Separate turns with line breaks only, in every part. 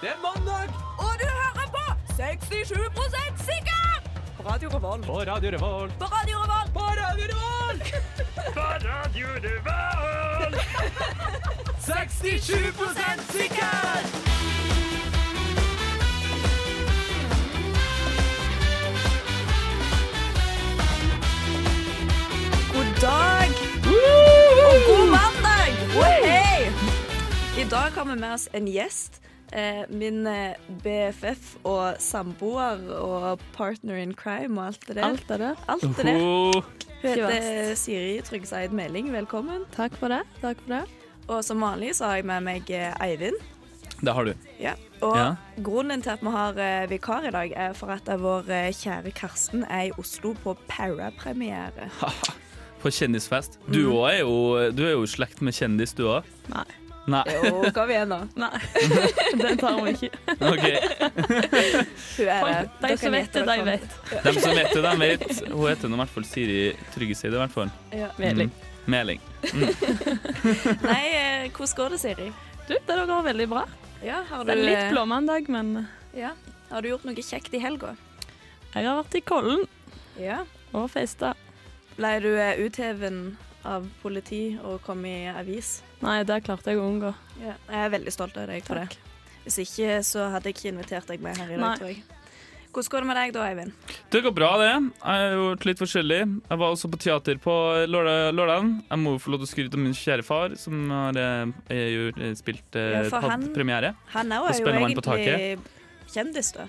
Det er mandag
Og du hører på 67 sikker! På Radio Revolt.
på Radio Revolt.
På Radio Revolt.
På Radio Revolt! på Radio Revolt! 67 sikker!
God dag og god mandag! Hei! I dag har vi med oss en gjest. Eh, Min eh, BFF og samboer og partner in crime og alt det der.
Alt er det.
Alt det der.
Oh,
Hun heter
Ikke
Siri Tryggeseid Meling. Velkommen.
Takk for det. Takk for det.
Og som vanlig så har jeg med meg eh, Eivind.
det har du.
Ja, og
Ja.
grunnen til at vi har eh, vikar i dag, er for at vår eh, kjære Karsten er i Oslo på Para-premiere.
På kjendisfest. Du òg er jo Du er jo i slekt med kjendis, du òg.
Nei.
Nei.
Jo, kom igjen nå.
Nei. Den tar vi ikke.
OK.
Hun er det.
Folk, de
Dere
som
gjetter
vet det,
dere
de
kommer.
vet.
De som vet det, de vet. Hun heter nå i hvert fall Siri Tryggeseid, i hvert fall.
Ja.
Veldig.
Mm. Meling.
Nei, eh, hvordan går det, Siri?
Du, det der går veldig bra.
Ja, har
Det er litt
eh,
blåmandag, men jeg
Ja. Har du gjort noe kjekt i helga?
har vært i Kollen
Ja.
og festa.
Ble du eh, utheven av politi og kom i avis?
Nei, det klarte jeg å unngå.
Ja. Jeg er veldig stolt av deg for
Takk.
det. Hvis ikke, så hadde jeg ikke invitert deg med her i
Nei.
dag, tror jeg. Hvordan går det med deg da, Eivind?
Det går bra, det. Jeg har gjort litt forskjellig. Jeg var også på teater på lørdag- lørdagen. Jeg må jo få lov til å skryte av min kjære far, som har eh, er jo, eh, spilt eh,
Ja, for
hatt
han-
premiere.
Han er
Og
jo
Spellemann på
egentlig kjendis, da.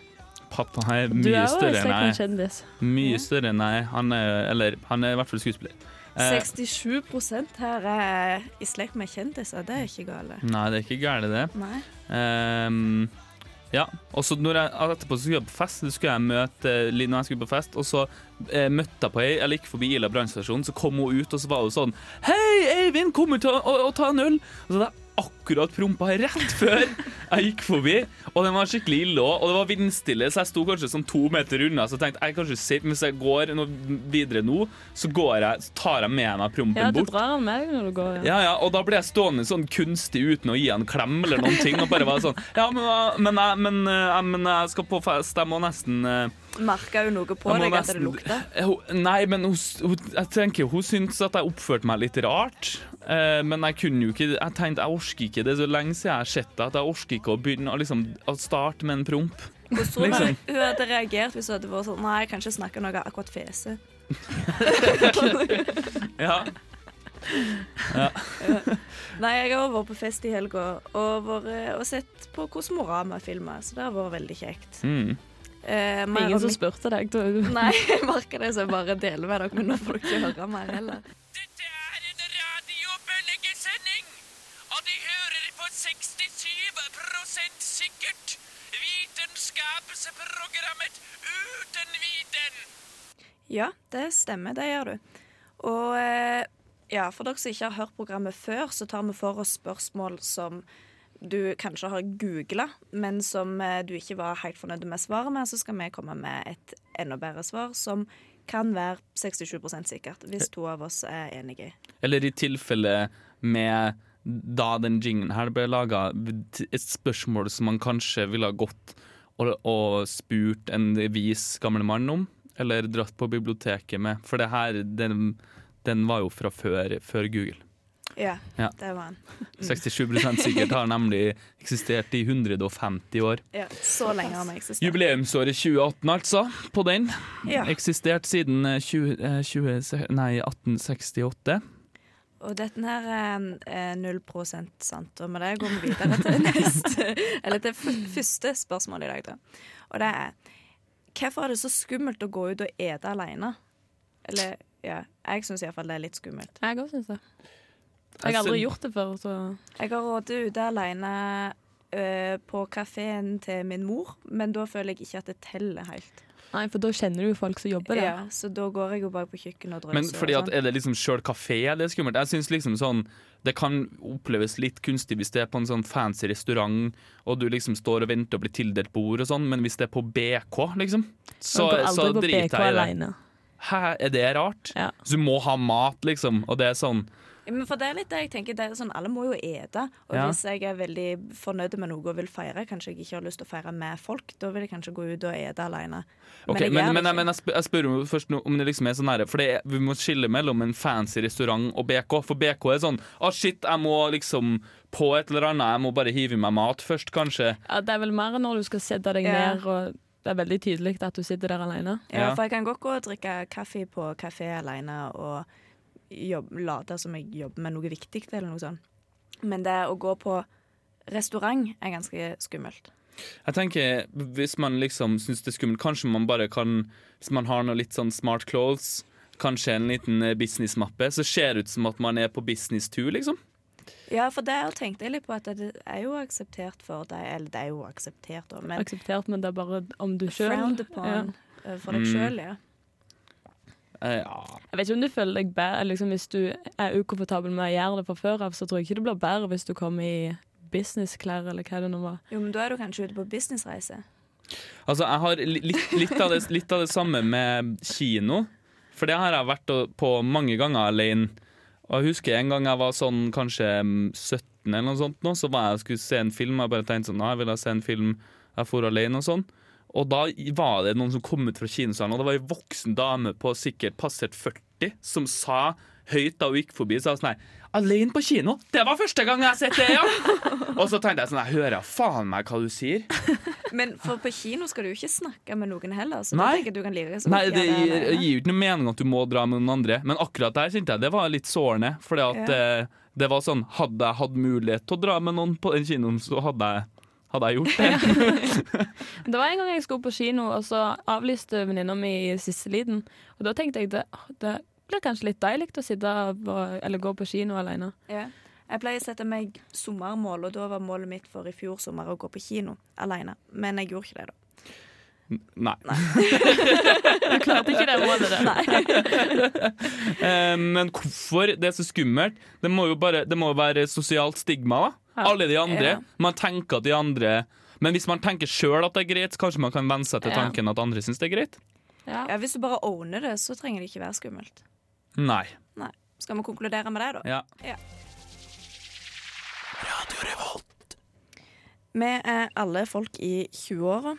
Pappa er
Du
mye
er jo
større enn
slekt med en
jeg.
kjendis.
er. Mye større enn jeg. er. Han er, eller, han er i hvert fall skuespiller. Eh,
67 her er i slekt med kjendiser. Det er ikke gale.
nei, det er ikke gærent, det.
Nei.
Ehm, ja, og så når jeg etterpå så skulle jeg på fest, så skulle jeg møte eh, Linn når jeg skulle på fest, og så eh, møtte jeg på ei, eller gikk forbi Ila brannstasjon, så kom hun ut, og så var hun sånn Hei, Eivind, kommer til å, å, å ta en øl? Og så hadde jeg akkurat prompa rett før jeg gikk forbi, og den var skikkelig ille òg, og det var vindstille, så jeg sto kanskje sånn to meter unna, så jeg tenkte jeg er kanskje safe, men hvis jeg går nå videre nå, så går jeg, så tar jeg med meg prompen
Ja, du
bort.
drar han med deg når du går. Ja.
Ja, ja, og da ble jeg stående sånn kunstig uten å gi han klem eller noen ting. Og bare var sånn Ja, men, hva- men, jeg- men, eh, men jeg skal på fest, jeg må nesten eh,
Merka hun noe på
jeg må
deg at det
nesten-
lukta?
Eh, hun- Nei, men hun, s- hun, jeg tenker hun syntes at jeg oppførte meg litt rart. Eh, men jeg kunne jo ikke Jeg tenkte jeg orker ikke det er så lenge siden jeg har sett deg, at jeg orker ikke å begynne å liksom, å starte med en promp.
Hvordan tror du
Liksom.
hun hadde reagert hvis hun hadde vært sånn Nei, jeg kan ikke snakke om noe akkurat fese.
Ja.
Nei, jeg har vært på fest i helga og, vært- eh, og sett på Kosmorama-filmer, så det har vært veldig kjekt.
Mm.
Eh, mer om-
Ingen som spurte deg. Du.
Nei, jeg merker det, så jeg bare deler med dere, men nå får dere ikke høre mer heller.
Dette er en radiobølgesending, og de hører på 67 sikkert. Vitenskapsprogrammet Uten viten.
Ja, det stemmer, det gjør du. Og eh, ja, for dere som ikke har hørt programmet før, så tar vi for oss spørsmål som du kanskje har googla, men som eh, du ikke var helt fornøyd med svaret med, så skal vi komme med et enda bedre svar som kan være 67 sikkert, hvis to av oss er enige.
Eller i tilfelle med da den jingen her ble laga, et spørsmål som man kanskje ville ha gått og, og spurt en vis gammel mann om, eller dratt på biblioteket med. For det her, den, den var jo fra før, før Google.
Ja,
Ja.
det var han.
67 sikkert har nemlig eksistert i 150 år.
Ja, så lenge han har eksistert.
Jubileumsåret 2018, altså, på den.
Ja.
Eksistert siden eh, 20, eh, 20, nei, 1868.
Og dette her er, er 0 sant, og med det går vi videre til neste Eller til f- første spørsmål i dag, da. Og det er Hvorfor er det så skummelt å gå ut og ete alene? Eller ja, jeg syns iallfall det er litt skummelt.
Jeg òg syns det. Jeg har aldri gjort det før, så
Jeg har rådet ute alene øh, på kafeen til min mor, men da føler jeg ikke at det teller helt.
Nei, for da kjenner du jo folk som jobber der.
Ja, så da går jeg jo bare på kjøkkenet og
Men
drøser.
fordi
og
at
sånn.
Er det liksom sjøl kafé det er skummelt? Jeg synes liksom sånn Det kan oppleves litt kunstig hvis det er på en sånn fancy restaurant og du liksom står og venter og blir tildelt bord og sånn, men hvis det er på BK, liksom, så,
Man går
så
aldri på
driter jeg i
BK
det.
alene.
Hæ, er det rart?
Ja.
Så du må ha mat, liksom. Og det er sånn
Men for det er litt det jeg tenker, det er sånn, alle må jo ete. Og
Ja.
hvis jeg er veldig fornøyd med noe og vil feire, kanskje jeg ikke har lyst til å feire med folk, da vil jeg kanskje gå ut og ete alene.
Ok, men, men,
gjør
men, jeg,
det
spør, jeg spør jo først nå om det liksom er sånn nære For det er, vi må skille mellom en fancy restaurant og BK. For BK er sånn Å, shit, jeg må liksom på et eller annet. Jeg må bare hive i meg mat først, kanskje.
Ja, det er vel mer når du skal sette deg
Ja.
ned, og det er veldig tydelig at du sitter der alene.
ikke. Ja,
Ja.
for jeg kan godt gå og drikke kaffe på kafé alene og jobb, late som jeg jobber med noe viktig eller noe sånt. Men det å gå på restaurant er ganske skummelt.
Jeg tenker, Hvis man liksom syns det er skummelt, kanskje man bare kan Hvis man har noe litt sånn smart clothes, kanskje en liten eh, businessmappe, så ser det ut som at man er på businesstur, liksom.
Ja, for det tenkte jeg litt på at det er jo akseptert for deg, eller det er jo akseptert, da, men
Akseptert, men det er bare om du sjøl
frowned upon eh, for deg
Mm.
sjøl, ja.
Eh, ja.
Jeg vet ikke om du føler deg bedre liksom, Hvis du er ukomfortabel med å gjøre det fra før av, så tror jeg ikke det blir bedre hvis du kommer i businessklær eller hva det nå var.
Jo, men da er du kanskje ute på businessreise.
Altså, jeg har li- litt, litt, av det, litt av det samme med kino. For det har jeg vært og- på mange ganger alene. Og jeg husker en gang jeg var sånn kanskje mm, 17 eller noe sånt nå, så var jeg og skulle se en film, og jeg bare tenkte sånn, «Nei, jeg ville se en film, jeg for alene og sånn. Og da var det noen som kom ut fra kinosalen, og det var en voksen dame på sikkert passert 40 som sa høyt da hun gikk forbi, sa sånn her, alene på kino, det var første gang jeg har sett det, ja! og så tenkte jeg sånn, jeg hører faen meg hva du sier.
Men for på kino skal du jo ikke snakke med noen heller, så
Nei.
da tenker jeg du kan like så
Nei,
godt
det
gjøre
gir,
alene.
gir jo ikke noe mening at du må dra med noen andre, men akkurat der kjente jeg det var litt sårende. Fordi at
Ja.
eh, det var sånn, hadde jeg hatt mulighet til å dra med noen på den kinoen, så hadde jeg, hadde jeg gjort det.
Det var en gang jeg skulle på kino, og så avlyste venninna mi i siste liten. Og da tenkte jeg det, «Åh, det blir kanskje litt deilig å sitte og- eller gå på kino alene.
Ja. Jeg pleier å sette meg sommermål, og da var målet mitt for i fjor sommer å gå på kino alene. Men jeg gjorde ikke det, da.
Nei.
Klarte ikke det målet der.
Eh, men hvorfor det er så skummelt? Det må jo bare, det må jo være sosialt stigma, da.
Ja.
Alle de andre.
Ja.
Man tenker at de andre Men hvis man tenker sjøl at det er greit, så kanskje man kan venne seg til
Ja.
tanken at andre syns det er greit?
Ja.
Ja, hvis du bare owner det, så trenger det ikke være skummelt.
Nei.
Nei. Skal vi konkludere med det, da?
Ja.
Vi er alle folk i 20-åra,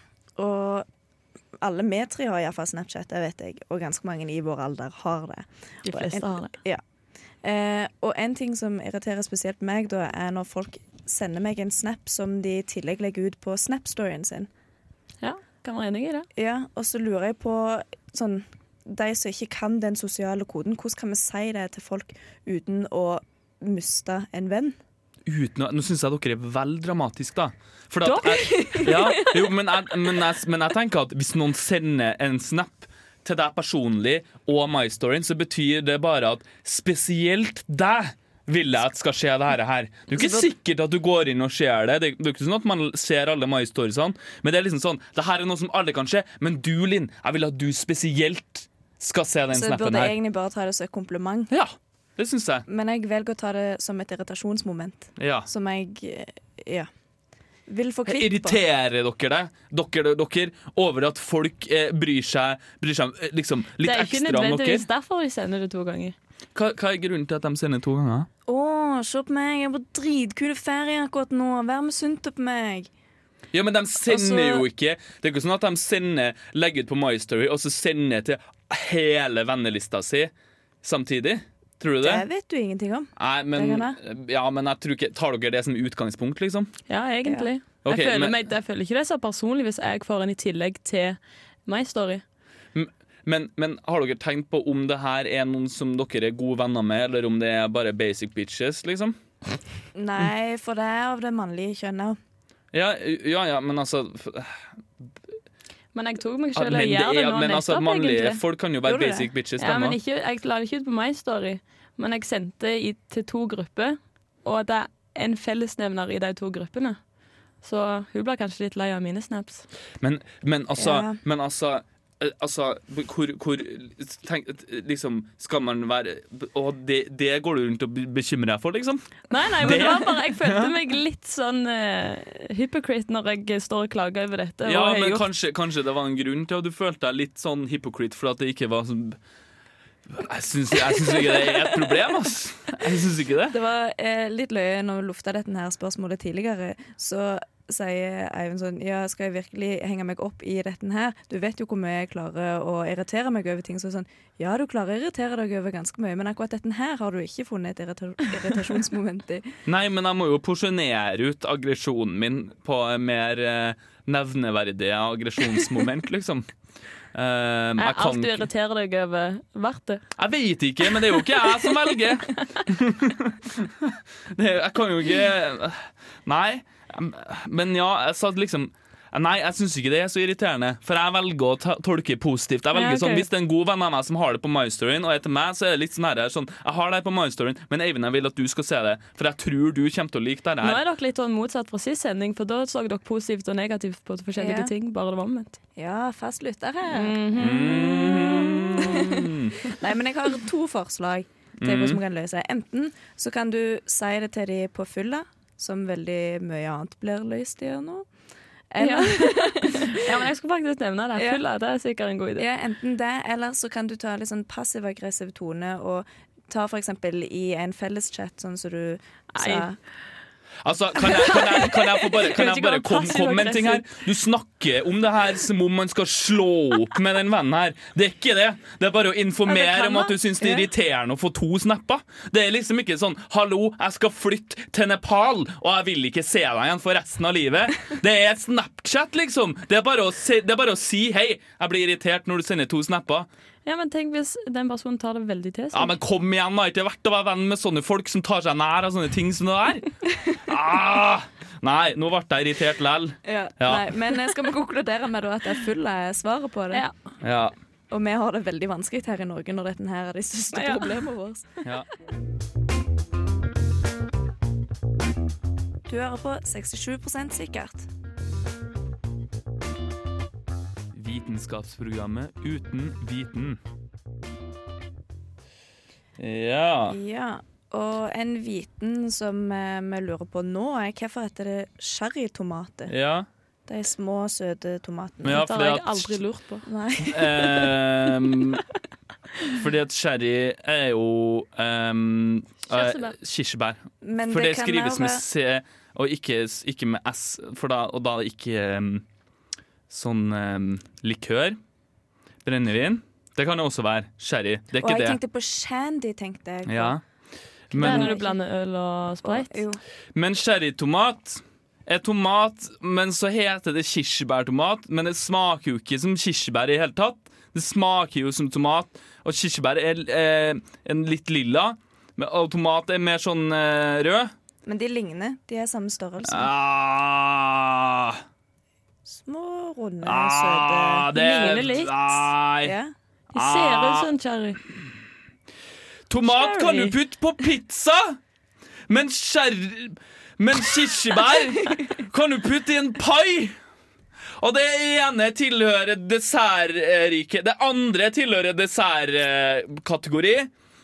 og alle vi tre har iallfall Snapchat, det vet jeg. Og ganske mange i vår alder har det.
De fleste har det.
Eh, og en ting som irriterer spesielt meg, da, er når folk sender meg en snap som de i tillegg legger ut på Snap-storyen sin.
Ja, kan være enig i det.
Ja, og så lurer jeg på sånn De som ikke kan den sosiale koden, hvordan kan vi si det til folk uten å miste en venn?
uten å, Nå syns jeg dere er vel dramatiske, da. For at jeg, ja, jo, men, jeg, men, jeg, men jeg tenker at hvis noen sender en snap til deg personlig og MyStoryen, så betyr det bare at spesielt deg vil jeg at skal skje det her og her. Det er jo ikke sikkert at du går inn og ser det. Det er det er jo ikke sånn at man ser alle My Storiesene, men det er liksom sånn Det her er noe som alle kan se, men du, Linn, jeg vil at du spesielt skal se den
Så jeg
snappen
burde
her.
egentlig bare ta det som et kompliment.
Ja, det syns jeg.
Men jeg velger å ta det som et irritasjonsmoment,
Ja.
som jeg eh, ja, vil få kvitt på.
Irriterer dere deg dere, dere over at folk eh, bryr seg, bryr seg eh, liksom, litt
Det er ikke
ekstra om dere?
nødvendigvis derfor de sender det to ganger.
Hva, hva er grunnen til at de sender to ganger?
Å, se på meg, jeg er på dritkule ferie akkurat nå. Vær misunt på meg.
Ja, men De sender
Altså-
jo ikke Det er ikke sånn at de sender, legger ut på My Story og så sender til hele vennelista si samtidig. Tror du det?
Det vet du ingenting om.
Nei, men,
det
ja, men jeg tror ikke, Tar dere det som utgangspunkt, liksom?
Ja, egentlig.
Ok,
jeg, føler
men-
meg, jeg føler ikke det så personlig hvis jeg får en i tillegg til My Story.
Men, men har dere tenkt på om det her er noen som dere er gode venner med, eller om det er bare basic bitches, liksom?
Nei, for det er av det mannlige kjønnet.
Ja, ja, ja men altså
Men jeg tok meg
Ja,
selv i å
det
gjøre det
er-
nå
Ah, men altså,
nettopp,
mannlige
egentlig.
folk kan jo være
Gjorde du
basic bitches,
Ja,
dem
men
også.
ikke, jeg la det ikke ut på My Story, men jeg sendte i, til to grupper, og det er en fellesnevner i de to gruppene. Så hun blir kanskje litt lei av mine snaps.
men, men altså,
Ja.
men altså eh, Altså, hvor, hvor tenk, Liksom, skal man være Og det, det går du rundt og be- bekymrer deg for, liksom?
Nei, nei, men
Det-
det var bare Jeg følte meg litt sånn eh, hypocrite når jeg står og klager over dette.
Ja,
og har
men
gjort-
kanskje, kanskje det var en grunn til at du følte deg litt sånn hypocrite fordi at det ikke var sånn Jeg syns jeg syns ikke det er et problem, ass. Jeg syns ikke det.
Det var eh, litt løye når vi lufta dette her spørsmålet tidligere. Så sier Eivind sånn Ja, skal jeg virkelig henge meg opp i dette her? Du vet jo hvor mye jeg klarer å irritere meg over ting. Så sånn Ja, du klarer å irritere deg over ganske mye, men akkurat dette her har du ikke funnet et irrita irritasjonsmoment i.
Nei, men jeg må jo porsjonere ut aggresjonen min på en mer eh, nevneverdige aggresjonsmoment, liksom. Eh,
Er
jeg,
alt
kan,
du irriterer deg over, verdt det?
jeg vet ikke, men det er jo ikke jeg som velger. det, er- jeg kan jo ikke Nei. Men ja, jeg sa liksom Nei, jeg syns ikke det er så irriterende, for jeg velger å ta- tolke positivt. Jeg velger
Ja, ok.
sånn, Hvis det er en god venn av meg som har det på MyStoryen, og er til meg, så er det litt sånn her, sånn Jeg har det her på MyStoryen, men Eivind, jeg vil at du skal se det, for jeg tror du kommer til å like det her.
Nå er dere litt sånn motsatt fra sist sending, for da så dere positivt og negativt på forskjellige
Ja.
ting. Bare det var omvendt. Mm.
Ja, fast lytter her.
Mhm. Mm.
Nei, men jeg har to forslag til hvordan vi kan løse det. Enten så kan du si det til de på fylla, som veldig mye annet blir løst i nå.
Ja.
Eller,
ja, men jeg skulle faktisk nevne det.
Ja.
Fylla, det er sikkert en god idé.
ja, enten det, eller så kan du ta litt sånn passiv-aggressiv tone og ta for eksempel i en felleschat, sånn som du sa.
Nei.
Altså, kan jeg, kan jeg, kan jeg få bare, kan
Kanskje
jeg bare
ikke være
komme
passiv
komme med en ting her? Du snakker om det her som om man skal slå opp med den vennen her. Det er ikke det. Det er bare å
Ja, det
informere
kan
om at
man.
du syns det er
Ja.
irriterende å få to snapper. Det er liksom ikke sånn 'hallo, jeg skal flytte til Nepal, og jeg vil ikke se deg igjen for resten av livet'. Det er et Snapchat, liksom. Det er bare å si, det er bare å si 'hei, jeg blir irritert når du sender to snapper'.
Ja, men tenk hvis den personen tar det veldig til seg.
Ja, men kom igjen, da. Ikke verdt å være venn med sånne folk som tar seg nær av sånne ting som det der. Ah, nei, nå ble jeg irritert lell.
Ja.
Ja.
Nei, men eh, skal vi konkludere med da at det er fylla er svaret på det?
Ja.
Ja.
Og vi har det veldig vanskelig her i Norge når dette her er de største
Ja.
problemene våre.
ja.
Du hører på 67 sikkert.
Vitenskapsprogrammet uten viten. Ja.
Ja, og en viten som eh, vi lurer på nå, er hvorfor heter det sherrytomater?
Ja,
De små, søte tomatene.
Ja,
Dette har
fordi
jeg
at-
aldri lurt på.
Nei.
ehm, fordi at sherry er jo um,
Kirsebær.
Kirsebær.
Men
For det,
kan
skrives med
være-
C og ikke, ikke med S, for da, og da er det ikke ehm, sånn ehm, likør. Brennevin. Det kan det også være. Sherry. Det er
Og
ikke
jeg
det.
tenkte på shandy, tenkte jeg. på.
Ja.
Men,
Men,
når du blander øl og sprayt.
Jo.
men sherrytomat er tomat, men så heter det kirsebærtomat. Men det smaker jo ikke som kirsebær i det hele tatt. Det smaker jo som tomat, og kirsebær er eh, en litt lilla. men- Og tomat er mer sånn eh, rød.
Men de ligner. De er samme størrelse.
Ah.
Små, runde,
Ah,
søte
det
Ligner litt.
Nei.
ja.
De ser
Ah.
ut som cherry.
Tomat kan du
Sherry.
putte på pizza, men sherry Men kirsebær kan du putte i en pai. Og det ene tilhører dessertriket. Det andre tilhører dessertkategori.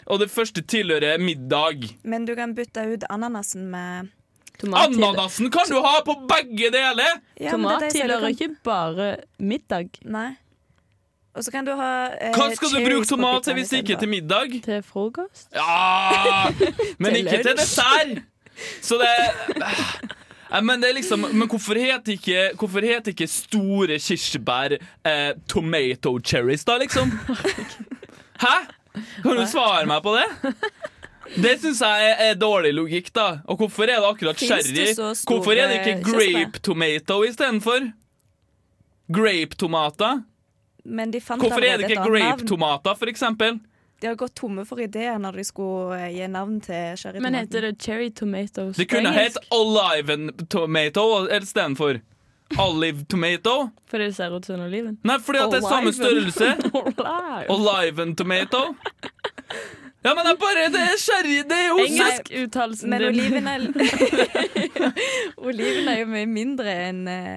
Og det første tilhører middag.
Men du kan bytte ut ananasen med
Tomat til-
Ananasen kan du ha på begge deler!
ja, men
Tomat
det er de som
tilhører
kan-
ikke bare middag
Nei. Og så kan du ha eh,
Hva skal du
cherries
bruke
på liksom.
tomat til
pizzaen
hvis ikke
istedenfor?
til middag?
til frokost.
Ja, men
Til
ikke til
lunsj.
dessert. Så det Nei, men det er liksom Men hvorfor heter ikke, hvorfor heter ikke store kirsebær eh, tomato cherries, da, liksom? Hæ? Kan du svare meg på det? Det syns jeg er, er dårlig logikk, da. Og hvorfor er det akkurat
Finnes det
cherry?
så store
Hvorfor er det ikke grape tomato istedenfor? Grape-tomater?
Men de fant
Hvorfor er
allerede
det
et
ikke
annet navn.
grape-tomater, for eksempel?
De har gått tomme for ideer når de skulle eh, gi navn til sherrytomaten.
Men heter det cherry tomatoes
Det kunne
på
hett
engelsk?
Oliven Tomato istedenfor Olive Tomato.
Fordi det ser ut som en oliven.
Nei, fordi at det er samme
Oliven.
størrelse.
Olive.
Oliven Tomato. Ja, men det er bare det er sherry. Det er jo søs-
Engelsk uttalelsen
Men
din.
oliven er Oliven er jo mye mindre enn eh,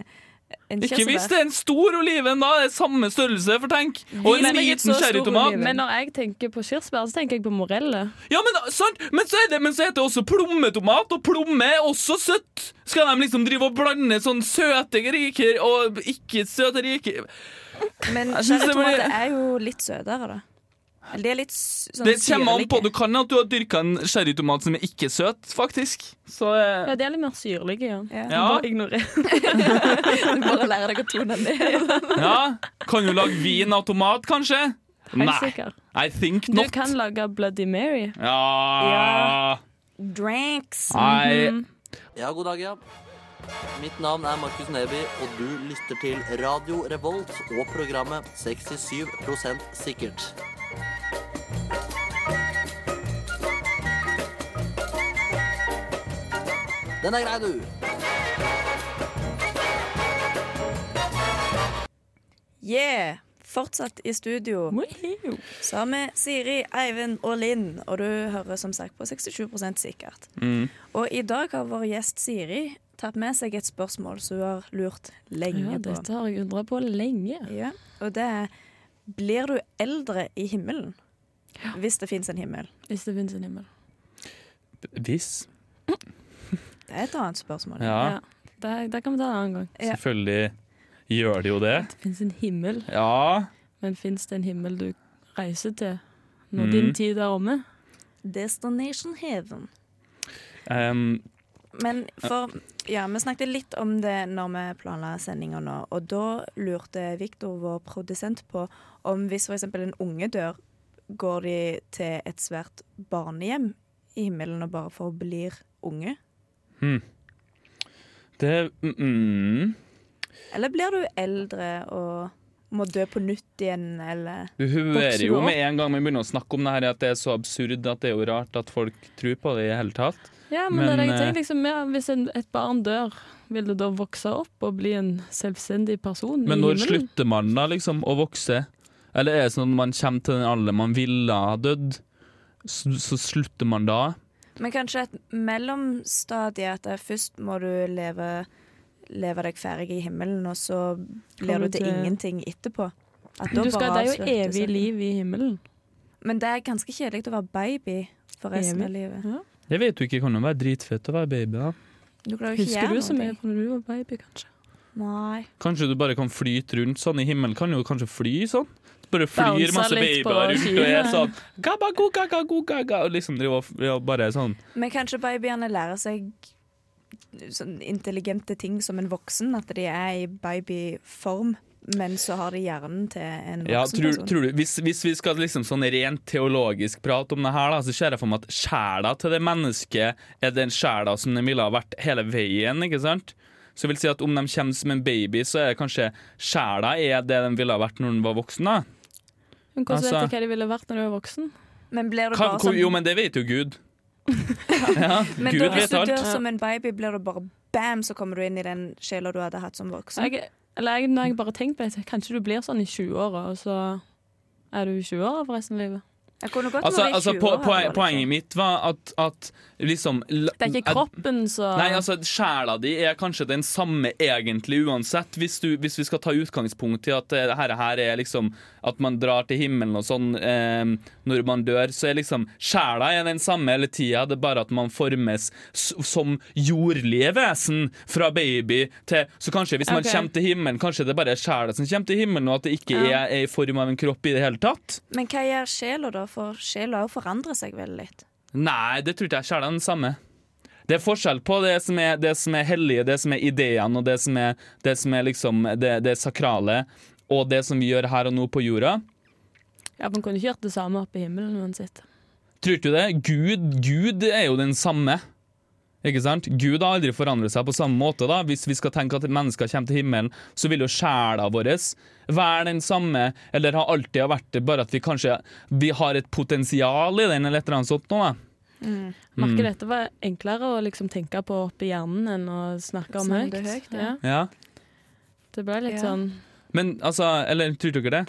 En
Ikke hvis
kirsebær.
det er en stor oliven, da. Det er samme størrelse, for tenk. Og en
Vis meg et så
liten
stor
cherrytomat.
Men når jeg tenker på kirsebær, så tenker jeg på morelle.
Ja, men sant! Men så, er det, men så heter det også plommetomat, og plomme er også søtt! Skal de liksom drive og blande sånn søte riker og ikke søte riker
Men
Jeg synes det blir-
cherrytomater er jo litt søtere, da. Eller de er litt s- sånn
Det kommer an på. Du
syrlige.
kan at du har dyrka en cherrytomat som er ikke søt, faktisk. Så eh,
Ja, de er litt mer syrlige, ja.
Ja.
Ja.
Bare ignorer.
Du bare lærer deg å tone ned.
ja. Kan du lage vin av tomat, kanskje?
Helt
Nei.
sikker.
I think
Du
not.
kan lage Bloody Mary.
Ja
Drinks. Mhm.
Nei.
Ja, god dag, ja. Mitt navn er Markus Neby, og du lytter til Radio Revolt og programmet 67 sikkert. Den er grei, du.
Yeah! Fortsatt i studio sammen med Siri, Eivind og Linn. Og du hører som sagt på 67 sikkert.
Mm.
Og i dag har vår gjest Siri tatt med seg et spørsmål som hun har lurt
Ja,
lenge på.
dette har jeg undra på lenge.
Ja, og det er Blir du eldre i himmelen? Hvis det fins en himmel.
Hvis det finnes en himmel.
Hvis.
Det er et annet spørsmål.
Ja,
Det, det kan vi ta en annen gang.
Ja.
selvfølgelig gjør det jo det.
Det fins en himmel,
Ja.
men fins det en himmel du reiser til når
Mm.
din tid er omme?
Destination heaven.
em,
Men for Ja, vi snakket litt om det når vi planla sendinga nå, og da lurte Viktor, vår produsent, på om hvis f.eks. en unge dør, går de til et svært barnehjem i himmelen og bare forblir unge?
det mm, mm.
Eller blir du eldre og må dø på nytt igjen, eller
Du hører
Vokser
jo
du
med en gang vi begynner å snakke om det her, at det er så absurd at det er jo rart at folk tror på det i det hele tatt.
Ja, men, det
Men,
er det jeg tenker,
eh,
liksom, ja, Hvis en, et barn dør, vil det da vokse opp og bli en selvstendig person
Men
i
når
himmelen?
slutter man da liksom å vokse? Eller er det sånn at man kommer til den alderen man ville ha dødd? Så, så slutter man da?
Men kanskje et mellomstadie at det er først må du leve, leve deg ferdig i himmelen, og så blir
Kommer
du til
til-
ingenting etterpå. At da
Du skal,
bare
det er jo
avsluttes
evig
det.
liv i himmelen.
Men det er ganske kjedelig å være baby for resten
Evig?
av livet.
Jeg vet jo ikke, det kan jo være dritfett å være baby da.
Du klarer jo ikke
Husker du
gjøre
så mye
noe.
fra da du var baby, kanskje?
Nei.
Kanskje du bare kan flyte rundt sånn i himmelen? Kan jo kanskje fly sånn? Bare flyr
Bouncer
masse
litt
babyer rundt
på
og er
skiene.
sånn gabagogagogaga Og liksom driver og- og bare er sånn
Men kanskje babyene lærer seg sånn intelligente ting som en voksen, at de er i babyform. Men så har de hjernen til en sånn- voksen
ja, tror,
person.
tror du, hvis, hvis vi skal liksom sånn rent teologisk prate om det her, da, så ser jeg for meg at sjela til det mennesket er den sjela som den ville ha vært hele veien. ikke sant? Så det vil si at om de kommer som en baby, så er det kanskje sjela er det den ville ha vært når den var voksen. da.
Men Hvordan
Altså-
vet du hva de ville vært når du var voksen?
Men blir du
Hva,
bare
hvor,
sånn
jo, men det vet jo Gud. Ja,
Men
Gud
da,
vet
hvis du
alt.
dør som en baby, blir du bare bam, så kommer du inn i den sjela du hadde hatt som voksen.
Jeg, eller jeg, når jeg bare tenker på det, kanskje du blir sånn i 20-åra, og så er du i 20-åra for resten av livet.
Jeg kunne godt
Altså,
vært i
altså,
20
po
år, liksom. hadde
poen-
vært
poenget mitt var at, at liksom
Det er ikke kroppen som
Nei, altså Sjela di er kanskje den samme egentlig uansett, hvis, du, hvis vi skal ta utgangspunkt i at det her, her er liksom At man drar til himmelen og sånn eh, når man dør, så er liksom Sjela er den samme hele tida, det er bare at man formes s som jordlige vesen fra baby til Så kanskje hvis man
Ok.
kommer til himmelen, kanskje det bare er sjela som kommer til himmelen, og at det ikke er,
Ja.
er i form av en kropp i det hele tatt?
Men hva gjør sjela da? For sjela også forandrer seg veldig litt.
Nei, det tror ikke jeg sjela er den samme. Det er forskjell på det som er, det som er hellige, det som er ideene, og det som er, det, som er liksom det, det sakrale, og det som vi gjør her og nå på jorda.
ja, Man kunne ikke gjort det samme oppe i himmelen uansett.
Tror ikke du det? Gud, Gud er jo den samme. Ikke sant? Gud har aldri forandret seg på samme måte. da. Hvis vi skal tenke at mennesker kommer til himmelen, så vil jo sjela vår være den samme, eller har alltid vært det, bare at vi kanskje vi har et potensial i den, eller et eller annet sånt. nå, da. Mm.
Merker dette var enklere å liksom tenke på oppi hjernen enn å snakke om
Snakke
høyt.
høyt, ja.
ja.
Ja.
Det ble litt
Ja.
sånn
Men altså, eller tror dere det?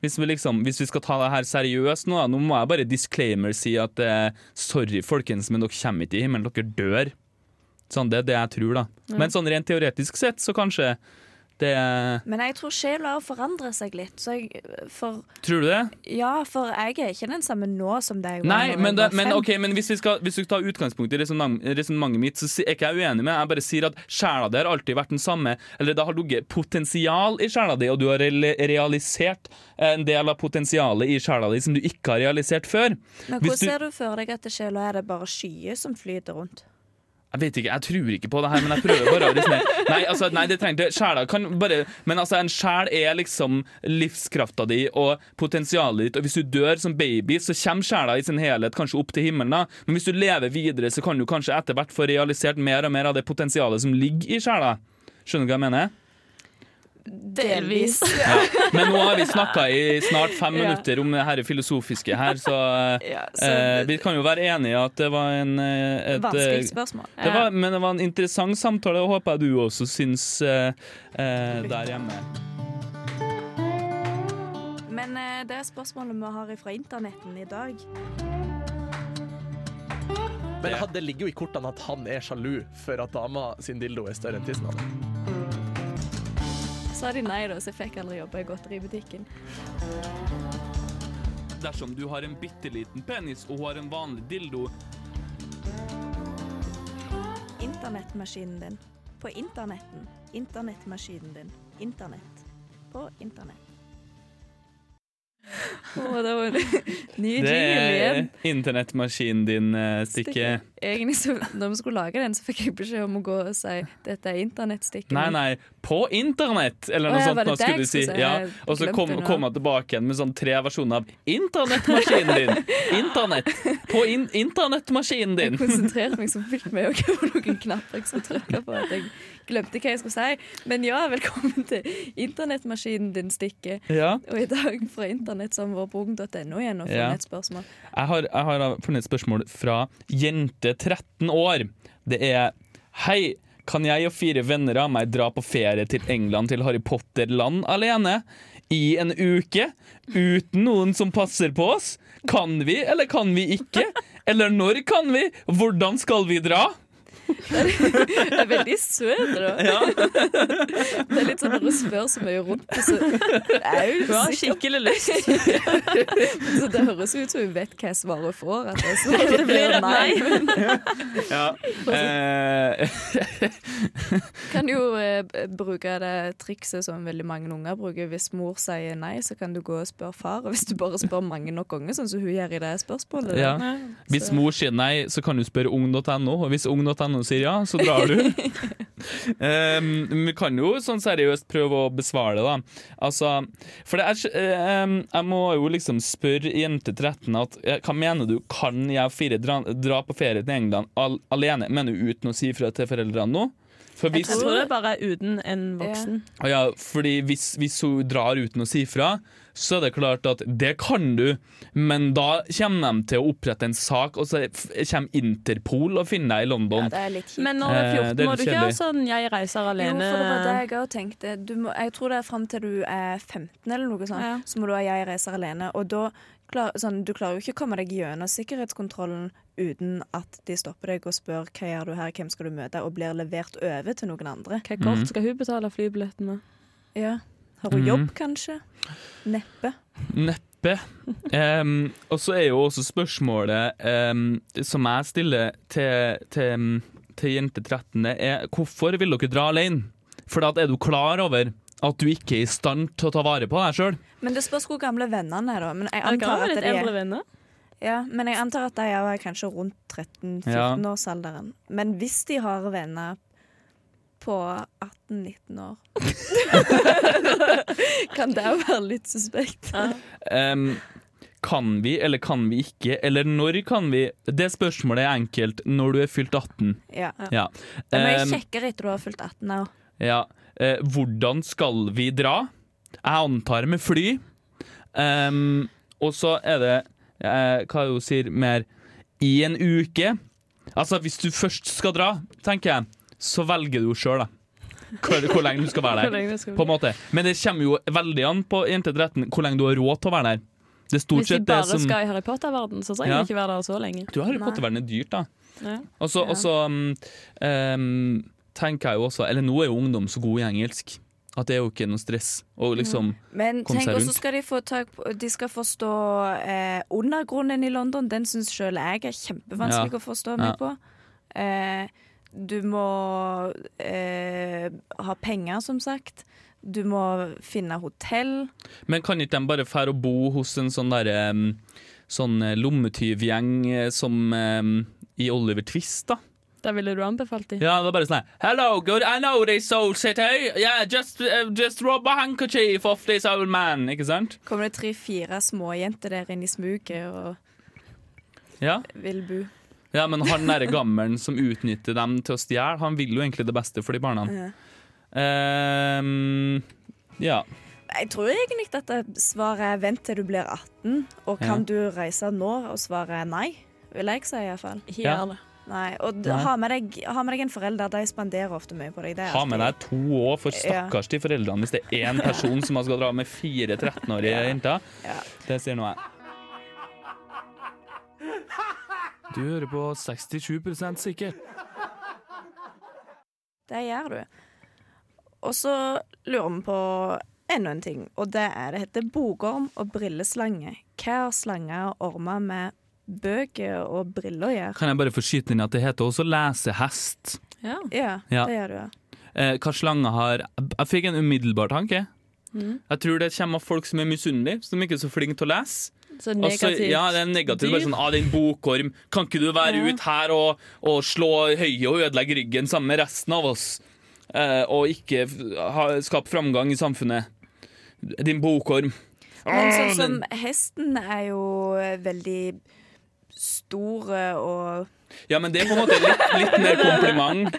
Hvis vi, liksom, hvis vi skal ta det her seriøst nå, da, nå må jeg bare disclaimer si at eh, sorry folkens, men dere kommer ikke i himmelen, dere dør. Sånn, det er det jeg tror, da. Men sånn rent teoretisk sett, så kanskje Det er
Men jeg tror sjela forandrer seg litt. Så jeg, for,
Tror du det?
ja, for jeg er ikke den samme nå som det jeg var
Nei,
når
men,
jeg
det,
var
men,
fem.
ok, men hvis, vi skal, hvis du tar utgangspunkt i resonnementet mitt, så si- er ikke jeg uenig med Jeg bare sier at sjela di har alltid vært den samme. Eller det har ligget potensial i sjela di, og du har real- realisert en del av potensialet i sjela di som du ikke har realisert før.
Men
Hvis
hvordan
du-
ser du for deg at det sjela er det bare skyer som flyter rundt?
Jeg vet ikke, jeg tror ikke på det her, men jeg prøver bare å resonere. Nei, altså, nei, det trenger ikke Sjela kan bare Men altså, en sjel er liksom livskrafta di og potensialet ditt, og hvis du dør som baby, så kommer sjela i sin helhet kanskje opp til himmelen, da. Men hvis du lever videre, så kan du kanskje etter hvert få realisert mer og mer av det potensialet som ligger i sjela. Skjønner du hva jeg mener?
Delvis.
Ja. Men nå har vi snakka i snart fem
Ja.
minutter om det her filosofiske her, så,
Ja,
eh,
så
vi kan jo være enige at det var en eh, et, eh,
Vanskelig spørsmål.
det
Eh.
var, men det var en interessant samtale, og håper jeg du også syns eh, eh, der hjemme.
Men eh, det er spørsmålet vi har fra internetten i dag.
Men han- det ligger jo i kortene at han er sjalu for at dama sin dildo er større enn tissen hans.
Sa de nei, da, så jeg fikk aldri jobbe i godteributikken.
Dersom du har en bitte liten penis og har en vanlig dildo
Internettmaskinen din. På internetten. Internettmaskinen din. Internett. På internett.
Å, det var ny
Det
jingle
er
igjen.
internettmaskinen din, eh, Stikke.
Egentlig så, når vi skulle lage den, så fikk jeg beskjed om å gå og si dette er internettstikket.
Nei, nei, på internett! Eller
Å,
noe
ja,
sånt.
var det
nå
det
skulle
jeg
du si.
skulle si?
Ja.
Jeg
Og så
glemte
kom,
det nå.
kom jeg tilbake igjen med sånn tre versjoner av internettmaskinen din! Internett! På in internettmaskinen
Jeg
din!
konsentrerte meg så vilt med hva var noen knapper jeg skulle trykke på. At jeg glemte hva jeg skulle si. Men ja, velkommen til internettmaskinen din, Stikke.
Ja.
Og i dag fra internett som vår på ung.no igjen og finne
Ja.
et spørsmål.
Jeg har, jeg har funnet et spørsmål fra jente 13 år. Det er Hei, kan jeg og fire venner av meg dra på ferie til England til Harry Potter-land alene? I en uke? Uten noen som passer på oss? Kan vi, eller kan vi ikke? Eller når kan vi? Hvordan skal vi dra?
Det er veldig søt, da. Det er litt sånn når du spør så mye rundt, og så Au,
Du har skikkelig lyst.
Så det høres ut som hun vet hva svaret får. At det, så det blir
et
nei.
Ja.
Kan jo eh, b- bruke det trikset som veldig mange unger bruker. Hvis mor sier nei, så kan du gå og spørre far. Og hvis du bare spør mange nok ganger, sånn som hun gjør i det spørsmålet. da.
ja. Hvis mor sier nei, så kan du spørre ung.no, og hvis ung.no sier ja, så drar du. Ehm, vi kan jo sånn seriøst prøve å besvare det, da. Altså, for det er ikke- ehm, Jeg må jo liksom spørre jente 13 at eh, hva mener du, kan jeg og fire dra, dra på ferie til England al alene? Mener du uten å si ifra til foreldrene nå? For
Jeg
hvis,
tror det bare er uten en voksen.
Å ja, fordi hvis, hvis hun drar uten å si fra, så er det klart at det kan du, men da kommer de til å opprette en sak, og så f- kommer Interpol og finner deg i London.
Det er litt
Men når du er
Eh,
14,
det er
må
litt
du ikke ha
kjedelig.
sånn 'jeg reiser alene'.
Jo, for det var det jeg òg tenkte. Du må, jeg tror det er fram til du er 15 eller noe sånt,
Ja.
så må du ha Jeg reiser alene. Og da klar, sånn, Du klarer jo ikke å komme deg gjennom sikkerhetskontrollen uten at de stopper deg og spør hva gjør du her, hvem skal du møte, og blir levert over til noen andre.
Hva
Mhm.
kort skal hun betale flybilletten med?
Ja. Har hun jobb, kanskje? Neppe.
Neppe. Em, og så er jo også spørsmålet em, som jeg stiller til, til, til jente 13, det er hvorfor vil dere dra alene? For da er du klar over at du ikke er i stand til å ta vare på deg sjøl.
Men det spørs hvor gamle vennene er, da. Men jeg
Er det
antar
galt
at
litt
de er
eldre venner?
Ja, men jeg antar at de er kanskje rundt
Ja.
13-14-årsalderen. Men hvis de har venner på 18-19 år
Kan det jo være litt suspekt?
Ehm, kan vi, eller kan vi ikke, eller når kan vi? Det spørsmålet er enkelt når du er fylt 18.
Ja.
Ja.
Det er mye
Ehm,
kjekkere etter du har fylt 18 år.
ja. Eh, hvordan skal vi dra? Jeg antar med fly. Ehm, og så er det eh, hva hun sier mer i en uke. Altså, hvis du først skal dra, tenker jeg, så velger du sjøl, da. Hvor, hvor lenge du skal være der. På en måte. Men det kommer jo veldig an på jente 13 hvor lenge du har råd til å være der. Det er stort
Hvis de
sett det
bare
som
skal i Harry Potter-verden, så trenger
Ja.
de ikke være der så lenge.
Du har jo pottevernet dyrt, da. mm,
Ja.
Og så og så, um, um, tenker jeg jo også Eller nå er jo ungdom så gode i engelsk. At det er jo ikke noe stress. Og liksom
Men
Kom seg
tenk også
rundt.
skal de få tak på De skal forstå eh, undergrunnen i London. Den syns sjøl jeg er kjempevanskelig
Ja.
å forstå
Ja.
meg på. Eh, du må eh, ha penger, som sagt. Du må finne hotell.
Men kan ikke de bare fære og bo hos en sånn derre um, Sånn eh, lommetyvgjeng eh, som em, i Oliver Twist, da?
Da ville du anbefalt dem.
Ja, det var bare sånn her, Hello, good, I know this old city. Yeah, just, uh, just rob a handkerchief off this old man. Ikke sant?
Kommer det tre-fire småjenter der inn i smuget og
Ja,
vil bo.
ja men han derre gammelen som utnytter dem til å stjele, han vil jo egentlig det beste for de barna. Em, ja.
Jeg tror egentlig at det svaret er vent til du blir 18, og kan
Ja.
du reise nå? Og svaret er nei, vil jeg si iallfall.
Ja.
det.
Nei, og d-
Nei.
ha med, deg, ha med deg en forelder, de spanderer ofte mye på deg. Det er
Ha
alltid-
med deg to år, for stakkars de foreldrene hvis det er én person som skal dra med fire 13-årige jenter.
Ja.
Det sier nå jeg. Du hører på 67 sikkert.
Det gjør du. Og så lurer vi på enda en ting, og det er det heter bokorm og brilleslange. Hva har slanger og ormer med bøker og briller å gjøre?
Kan jeg bare få skyte inn at det heter også lesehest?
Ja.
Ja,
Ja.
det gjør du. ja.
Eh, hva slanger har Jeg jeg fikk en umiddelbar tanke.
Mm.
Jeg tror det kommer av folk som er misunnelige, som ikke er så flinke til å lese.
Så
Altså,
negativt.
ja, det er negativt. Bare
dyr.
sånn, ah, din bokorm, kan ikke du være ut her og, og slå høyet og ødelegge ryggen sammen med resten av oss? Eh, og ikke f- ha, skape framgang i samfunnet. Din bokorm.
Men sånn som hesten er jo veldig stor eh, og
Ja, men det er på en måte litt, litt mer kompliment.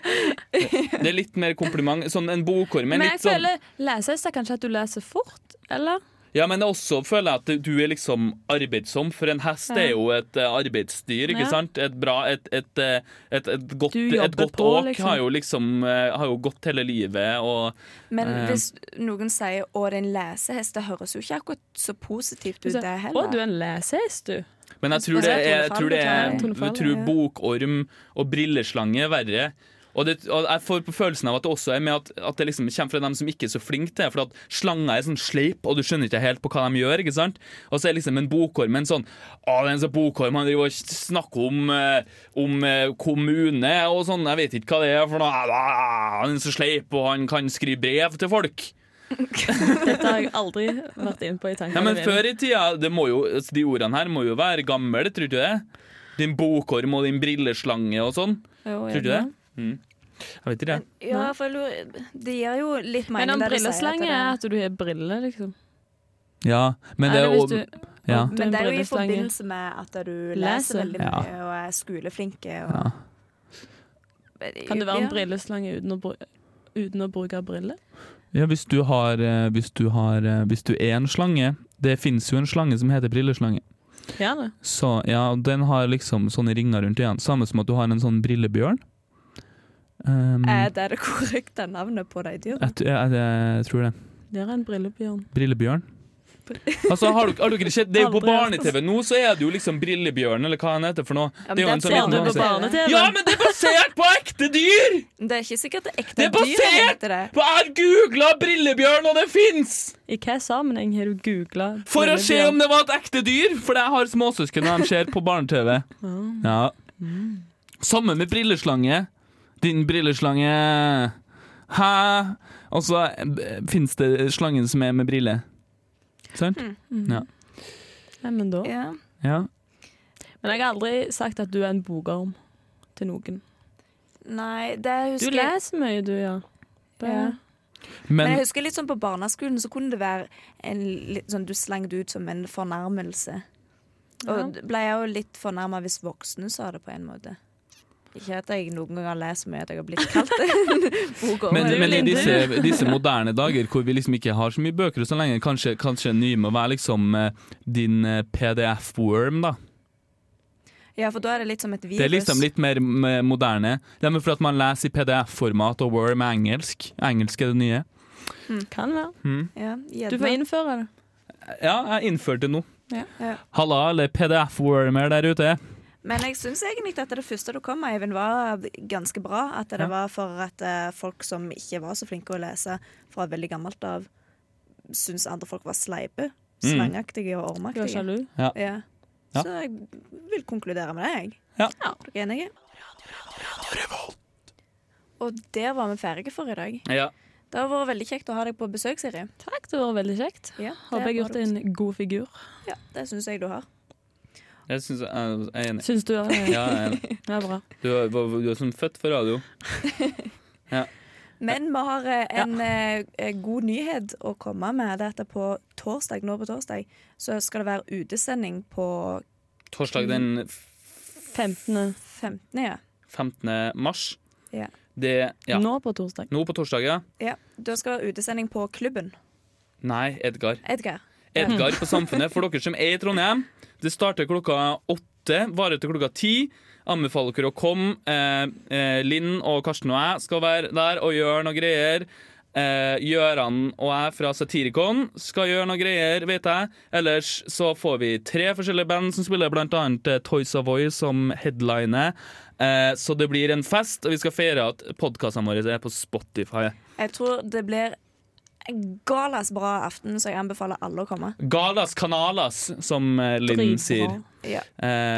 Det er litt mer kompliment. Sånn en bokorm er
Men jeg
litt sånn
føler lesehest er kanskje at du leser fort, eller?
Ja, men det er også føler jeg at du er liksom arbeidsom, for en hest er jo et eh, arbeidsdyr, ikke
Ja.
sant? Et bra Et, et, eh, et, et godt,
Du
et
jobber
godt
på,
åk
liksom.
har jo liksom eh, Har jo gått hele livet og
Men
Eh.
hvis noen sier 'å, det er en lesehest', det høres jo ikke akkurat så positivt ut, det
Å, du
heller.
er en lesehest, du.
Men jeg tror det er, jeg tror det er
Tonefall,
jeg tror
ja.
bokorm og brilleslange er verre. Og, det, og jeg får på følelsen av at det også er med at, at det liksom kommer fra dem som ikke er så flinke til det. For at slanger er sånn sleip, og du skjønner ikke helt på hva de gjør. ikke sant? Og så er liksom en bokorm en sånn Å, det er en sånn bokorm, han driver og snakker om, eh, om eh, kommune og sånn, jeg vet ikke hva det er for noe. Ah, Han er så sleip, og han kan skrive brev til folk.
Dette har jeg aldri vært inne på i
Nei,
tankene
men før i tida, det må jo, altså, de ordene her må jo være gamle, tror du ikke det? Din bokorm og din brilleslange og sånn.
Jo, ja.
Tror du det? Mm. Jeg vet ikke det.
Ja, for jeg lurer- det gir jo litt mening.
Men om
det de sier, at
brilleslange
det-
er at du har briller, liksom.
Ja, men det
Eller
er
hvis
jo
du-
ja.
Du er
Men
en
det er jo i
brilleslange.
forbindelse med at du
Leser.
leser veldig
Ja.
mye og er skoleflink. Og...
Kan det være en
Ja.
brilleslange uten å, bru uten å bruke briller?
ja, hvis du har eh, Hvis du har eh, Hvis du er en slange Det fins jo en slange som heter brilleslange.
Ja, det.
Så ja, og Den har liksom sånne ringer rundt øynene. Samme som at du har en sånn brillebjørn.
Eh,
Um,
Er
Mm.
det det korrekte navnet på de dyrene?
jeg, t- jeg, jeg tror det.
Der er en brillebjørn.
Brillebjørn. Altså, har du, har du ikke sett Det er jo på
Aldri hørt.
barne-TV nå, så er det jo liksom Brillebjørn, eller hva han heter for noe.
altså. Ja, men
det er jo en
den
sånn
ser
liten
du på
annonse.
barne-tv.
Ja, men det er basert på ekte dyr!
Det er ikke sikkert det er ekte
Det er
dyr
basert
heter det.
på Jeg har googla Brillebjørn, og det fins!
I hva sammenheng har du googla
For å se om det var et ekte dyr, for jeg har småsøsken og de ser på barne-TV. Ja. Samme med brilleslange. Din brilleslange Hæ? Og så fins det slangen som er med briller. Sant?
Mm. Nei, men da.
Ja.
Ja.
Men jeg har aldri sagt at du er en bokorm til noen.
Nei, det
Du
husker jeg
leser mye, du, ja. Det
Ja.
er
Men
Men
jeg husker litt sånn på barneskolen så kunne det være en litt sånn du slang det ut som en fornærmelse. Og ble jeg jo litt fornærma hvis voksne sa det på en måte. Ikke at jeg noen gang har lest så mye at jeg har blitt kalt det. Bokorm.
Men,
Du,
men i
Linde.
disse, disse moderne dager hvor vi liksom ikke har så mye bøker og sånn lenger, kanskje, kanskje en ny må være liksom eh, din eh, PDF-worm, da.
Ja, for da er det litt som et virus.
Det er liksom litt mer m- moderne. Det er for at man leser i PDF-format, og worm er engelsk. Engelsk er det nye.
Mm, Kan være.
ja,
Du får innføre det.
Ja, jeg innførte det nå.
Ja.
Ja.
Halla, alle PDF-wormer der ute.
Men jeg syns egentlig at det første du kom med, Eivind, var ganske bra. At det
Ja.
var for at eh, folk som ikke var så flinke å lese fra veldig gammelt av, syns andre folk var sleipe,
Mm.
slangaktige og
Du var
ormaktige.
sjalu?
Ja.
Ja.
Så jeg vil konkludere med det, jeg.
Ja.
Er dere enige? Og der var vi ferdige for i dag.
Ja.
Det har vært veldig kjekt å ha deg på besøk, Siri.
Takk, det var veldig kjekt.
Ja,
Håper jeg har gjort en god figur.
Ja, det syns jeg du har.
Jeg syns jeg jeg er enig.
Syns du? Ja,
Ja, jeg er enig.
det er bra.
Du, er- du er som født for radio.
Men vi har eh, en eh, god nyhet å komme med. Det er at på torsdag, nå på torsdag så skal det være utesending på
Torsdag den
15.
15. Ja.
15. mars.
Ja.
Det Ja. Mm.
Nå på torsdag.
Nå på torsdag, ja.
ja. Da skal det være utesending på klubben.
Nei, Edgar.
Edgar.
Edgar på Samfunnet for dere som er i Trondheim. Det starter klokka åtte, varer til klokka ti. Anbefaler dere å komme. Eh, eh, Linn og Karsten og jeg skal være der og gjøre noe greier. Eh, Gøran og jeg fra Satirikon skal gjøre noe greier, vet jeg. Ellers så får vi tre forskjellige band som spiller, blant annet eh, Toys Avoy som headliner. Eh, så det blir en fest, og vi skal feire at podkastene våre er på Spotify.
Jeg tror det blir en galas bra aften, så jeg anbefaler alle å komme.
Galas canalas, som eh, Linn
Dritbra.
sier.
Ja,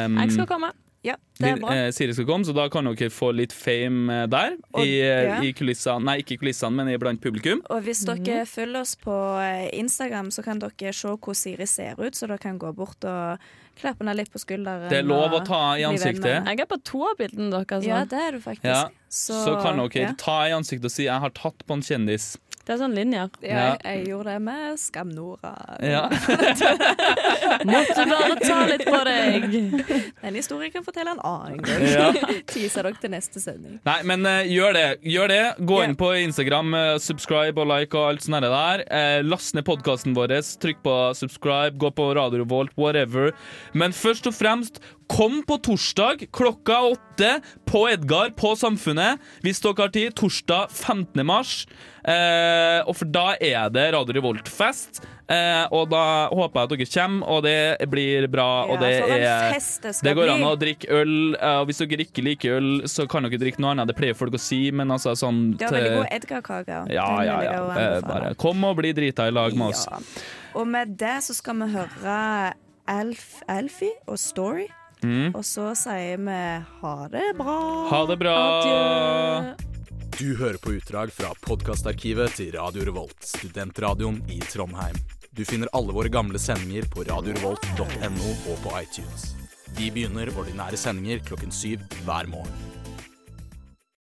Um,
Jeg skal komme.
ja det er
Lin-
bra.
eh, Siri skal komme, så da kan dere få litt fame eh, der.
Og-
I, eh,
ja.
i kulissene, nei, ikke i kulissene, men i blant publikum.
Og hvis dere følger oss på eh, Instagram, så kan dere se hvordan Siri ser ut, så dere kan gå bort og klappe henne litt på skulderen.
Det er lov
og
å ta i
bli venn med
ansiktet.
henne.
Jeg er på altså. to av bildene deres.
Ja,
nå.
det er du faktisk.
Ja. Så, kan dere
ja.
ta i ansiktet og si 'jeg har tatt på en kjendis'.
Det er sånn linjer.
Ja.
Jeg, jeg gjorde det med Skam Nora.
Ja.
Måtte bare ta litt på deg.
Den historien kan jeg fortelle en annen gang.
Ja.
Teaser dere til neste sending.
Nei, men eh, gjør det. Gjør det. Gå
Ja.
inn på Instagram, eh, subscribe og like og alt sånt der der. Eh, last ned podkasten vår, trykk på subscribe, gå på Radio Revolt, whatever. Men først og fremst, kom på torsdag klokka åtte på Edgar på Samfunnet. Hvis dere har tid, torsdag 15. mars. Eh, og for da er det Radio Revolt-fest. Eh, og da håper jeg at dere kommer, og det blir bra. og det
for en
er
fest det skal
det går
bli.
an å drikke øl. eh, og hvis dere ikke liker øl, så kan dere drikke noe annet. Det pleier folk å si, men altså sånn
Det var veldig god Edgar-kake. også.
Ja,
Den
ja,
vil jeg
ja.
også
Eh,
anbefale.
Bare kom og bli drita i lag med oss.
Ja. Og med det så skal vi høre Alf, Alfie og Story. Og så sier vi ha det bra.
Mm. Ha det bra.
Adjø.
Du hører på utdrag fra podkastarkivet til Radio Revolt, studentradioen i Trondheim. Du finner alle våre gamle sendinger på radiorevolt.no og på iTunes. De begynner ordinære sendinger klokken syv hver morgen.